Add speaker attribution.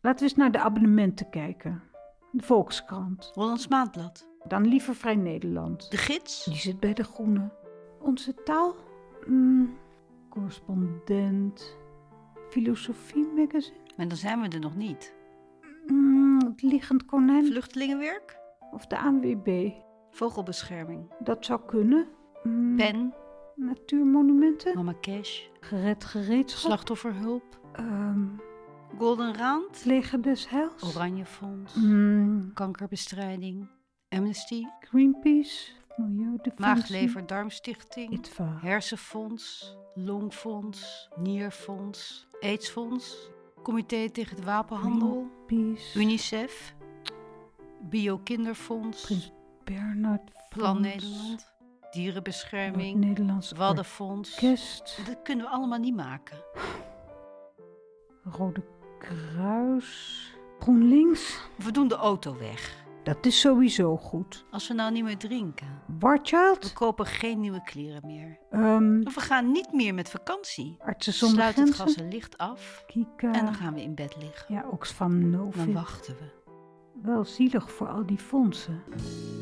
Speaker 1: Laten we eens naar de abonnementen kijken. De Volkskrant.
Speaker 2: Hollands Maandblad.
Speaker 1: Dan liever Vrij Nederland.
Speaker 2: De Gids.
Speaker 1: Die zit bij de Groene. Onze taal? Hmm, correspondent. Filosofie magazine?
Speaker 2: Maar dan zijn we er nog niet.
Speaker 1: Hmm, het Liggend Konijn?
Speaker 2: Vluchtelingenwerk.
Speaker 1: Of de ANWB?
Speaker 2: Vogelbescherming.
Speaker 1: Dat zou kunnen. Hmm,
Speaker 2: Pen.
Speaker 1: Natuurmonumenten?
Speaker 2: Mama Cash.
Speaker 1: Gered gereedschap?
Speaker 2: Slachtofferhulp.
Speaker 1: Ehm
Speaker 2: Golden Raand.
Speaker 1: het Leger des Heils?
Speaker 2: Oranjefonds.
Speaker 1: Hmm,
Speaker 2: Kankerbestrijding. Amnesty.
Speaker 1: Greenpeace? Milieudefensie?
Speaker 2: Maaglever Darmstichting.
Speaker 1: ITVA.
Speaker 2: Hersenfonds. Longfonds. Nierfonds. Aidsfonds. Comité tegen de wapenhandel.
Speaker 1: Greenpeace?
Speaker 2: UNICEF. Biokinderfonds.
Speaker 1: Prins Bernhard
Speaker 2: Plan
Speaker 1: Fonds,
Speaker 2: Nederland. Dierenbescherming.
Speaker 1: Nederlands
Speaker 2: Waddenfonds.
Speaker 1: Orkest,
Speaker 2: Dat kunnen we allemaal niet maken.
Speaker 1: Rode Kruis, GroenLinks.
Speaker 2: We doen de auto weg.
Speaker 1: Dat is sowieso goed.
Speaker 2: Als we nou niet meer drinken. We
Speaker 1: Warchild,
Speaker 2: kopen geen nieuwe kleren meer.
Speaker 1: ehm
Speaker 2: Of we gaan niet meer met vakantie.
Speaker 1: Artsen zonder
Speaker 2: Sluit het
Speaker 1: grenzen,
Speaker 2: gas en licht af.
Speaker 1: Kika.
Speaker 2: En dan gaan we in bed liggen.
Speaker 1: Ja, Oxfam
Speaker 2: Dan
Speaker 1: Novib.
Speaker 2: wachten we.
Speaker 1: Wel zielig voor al die fondsen.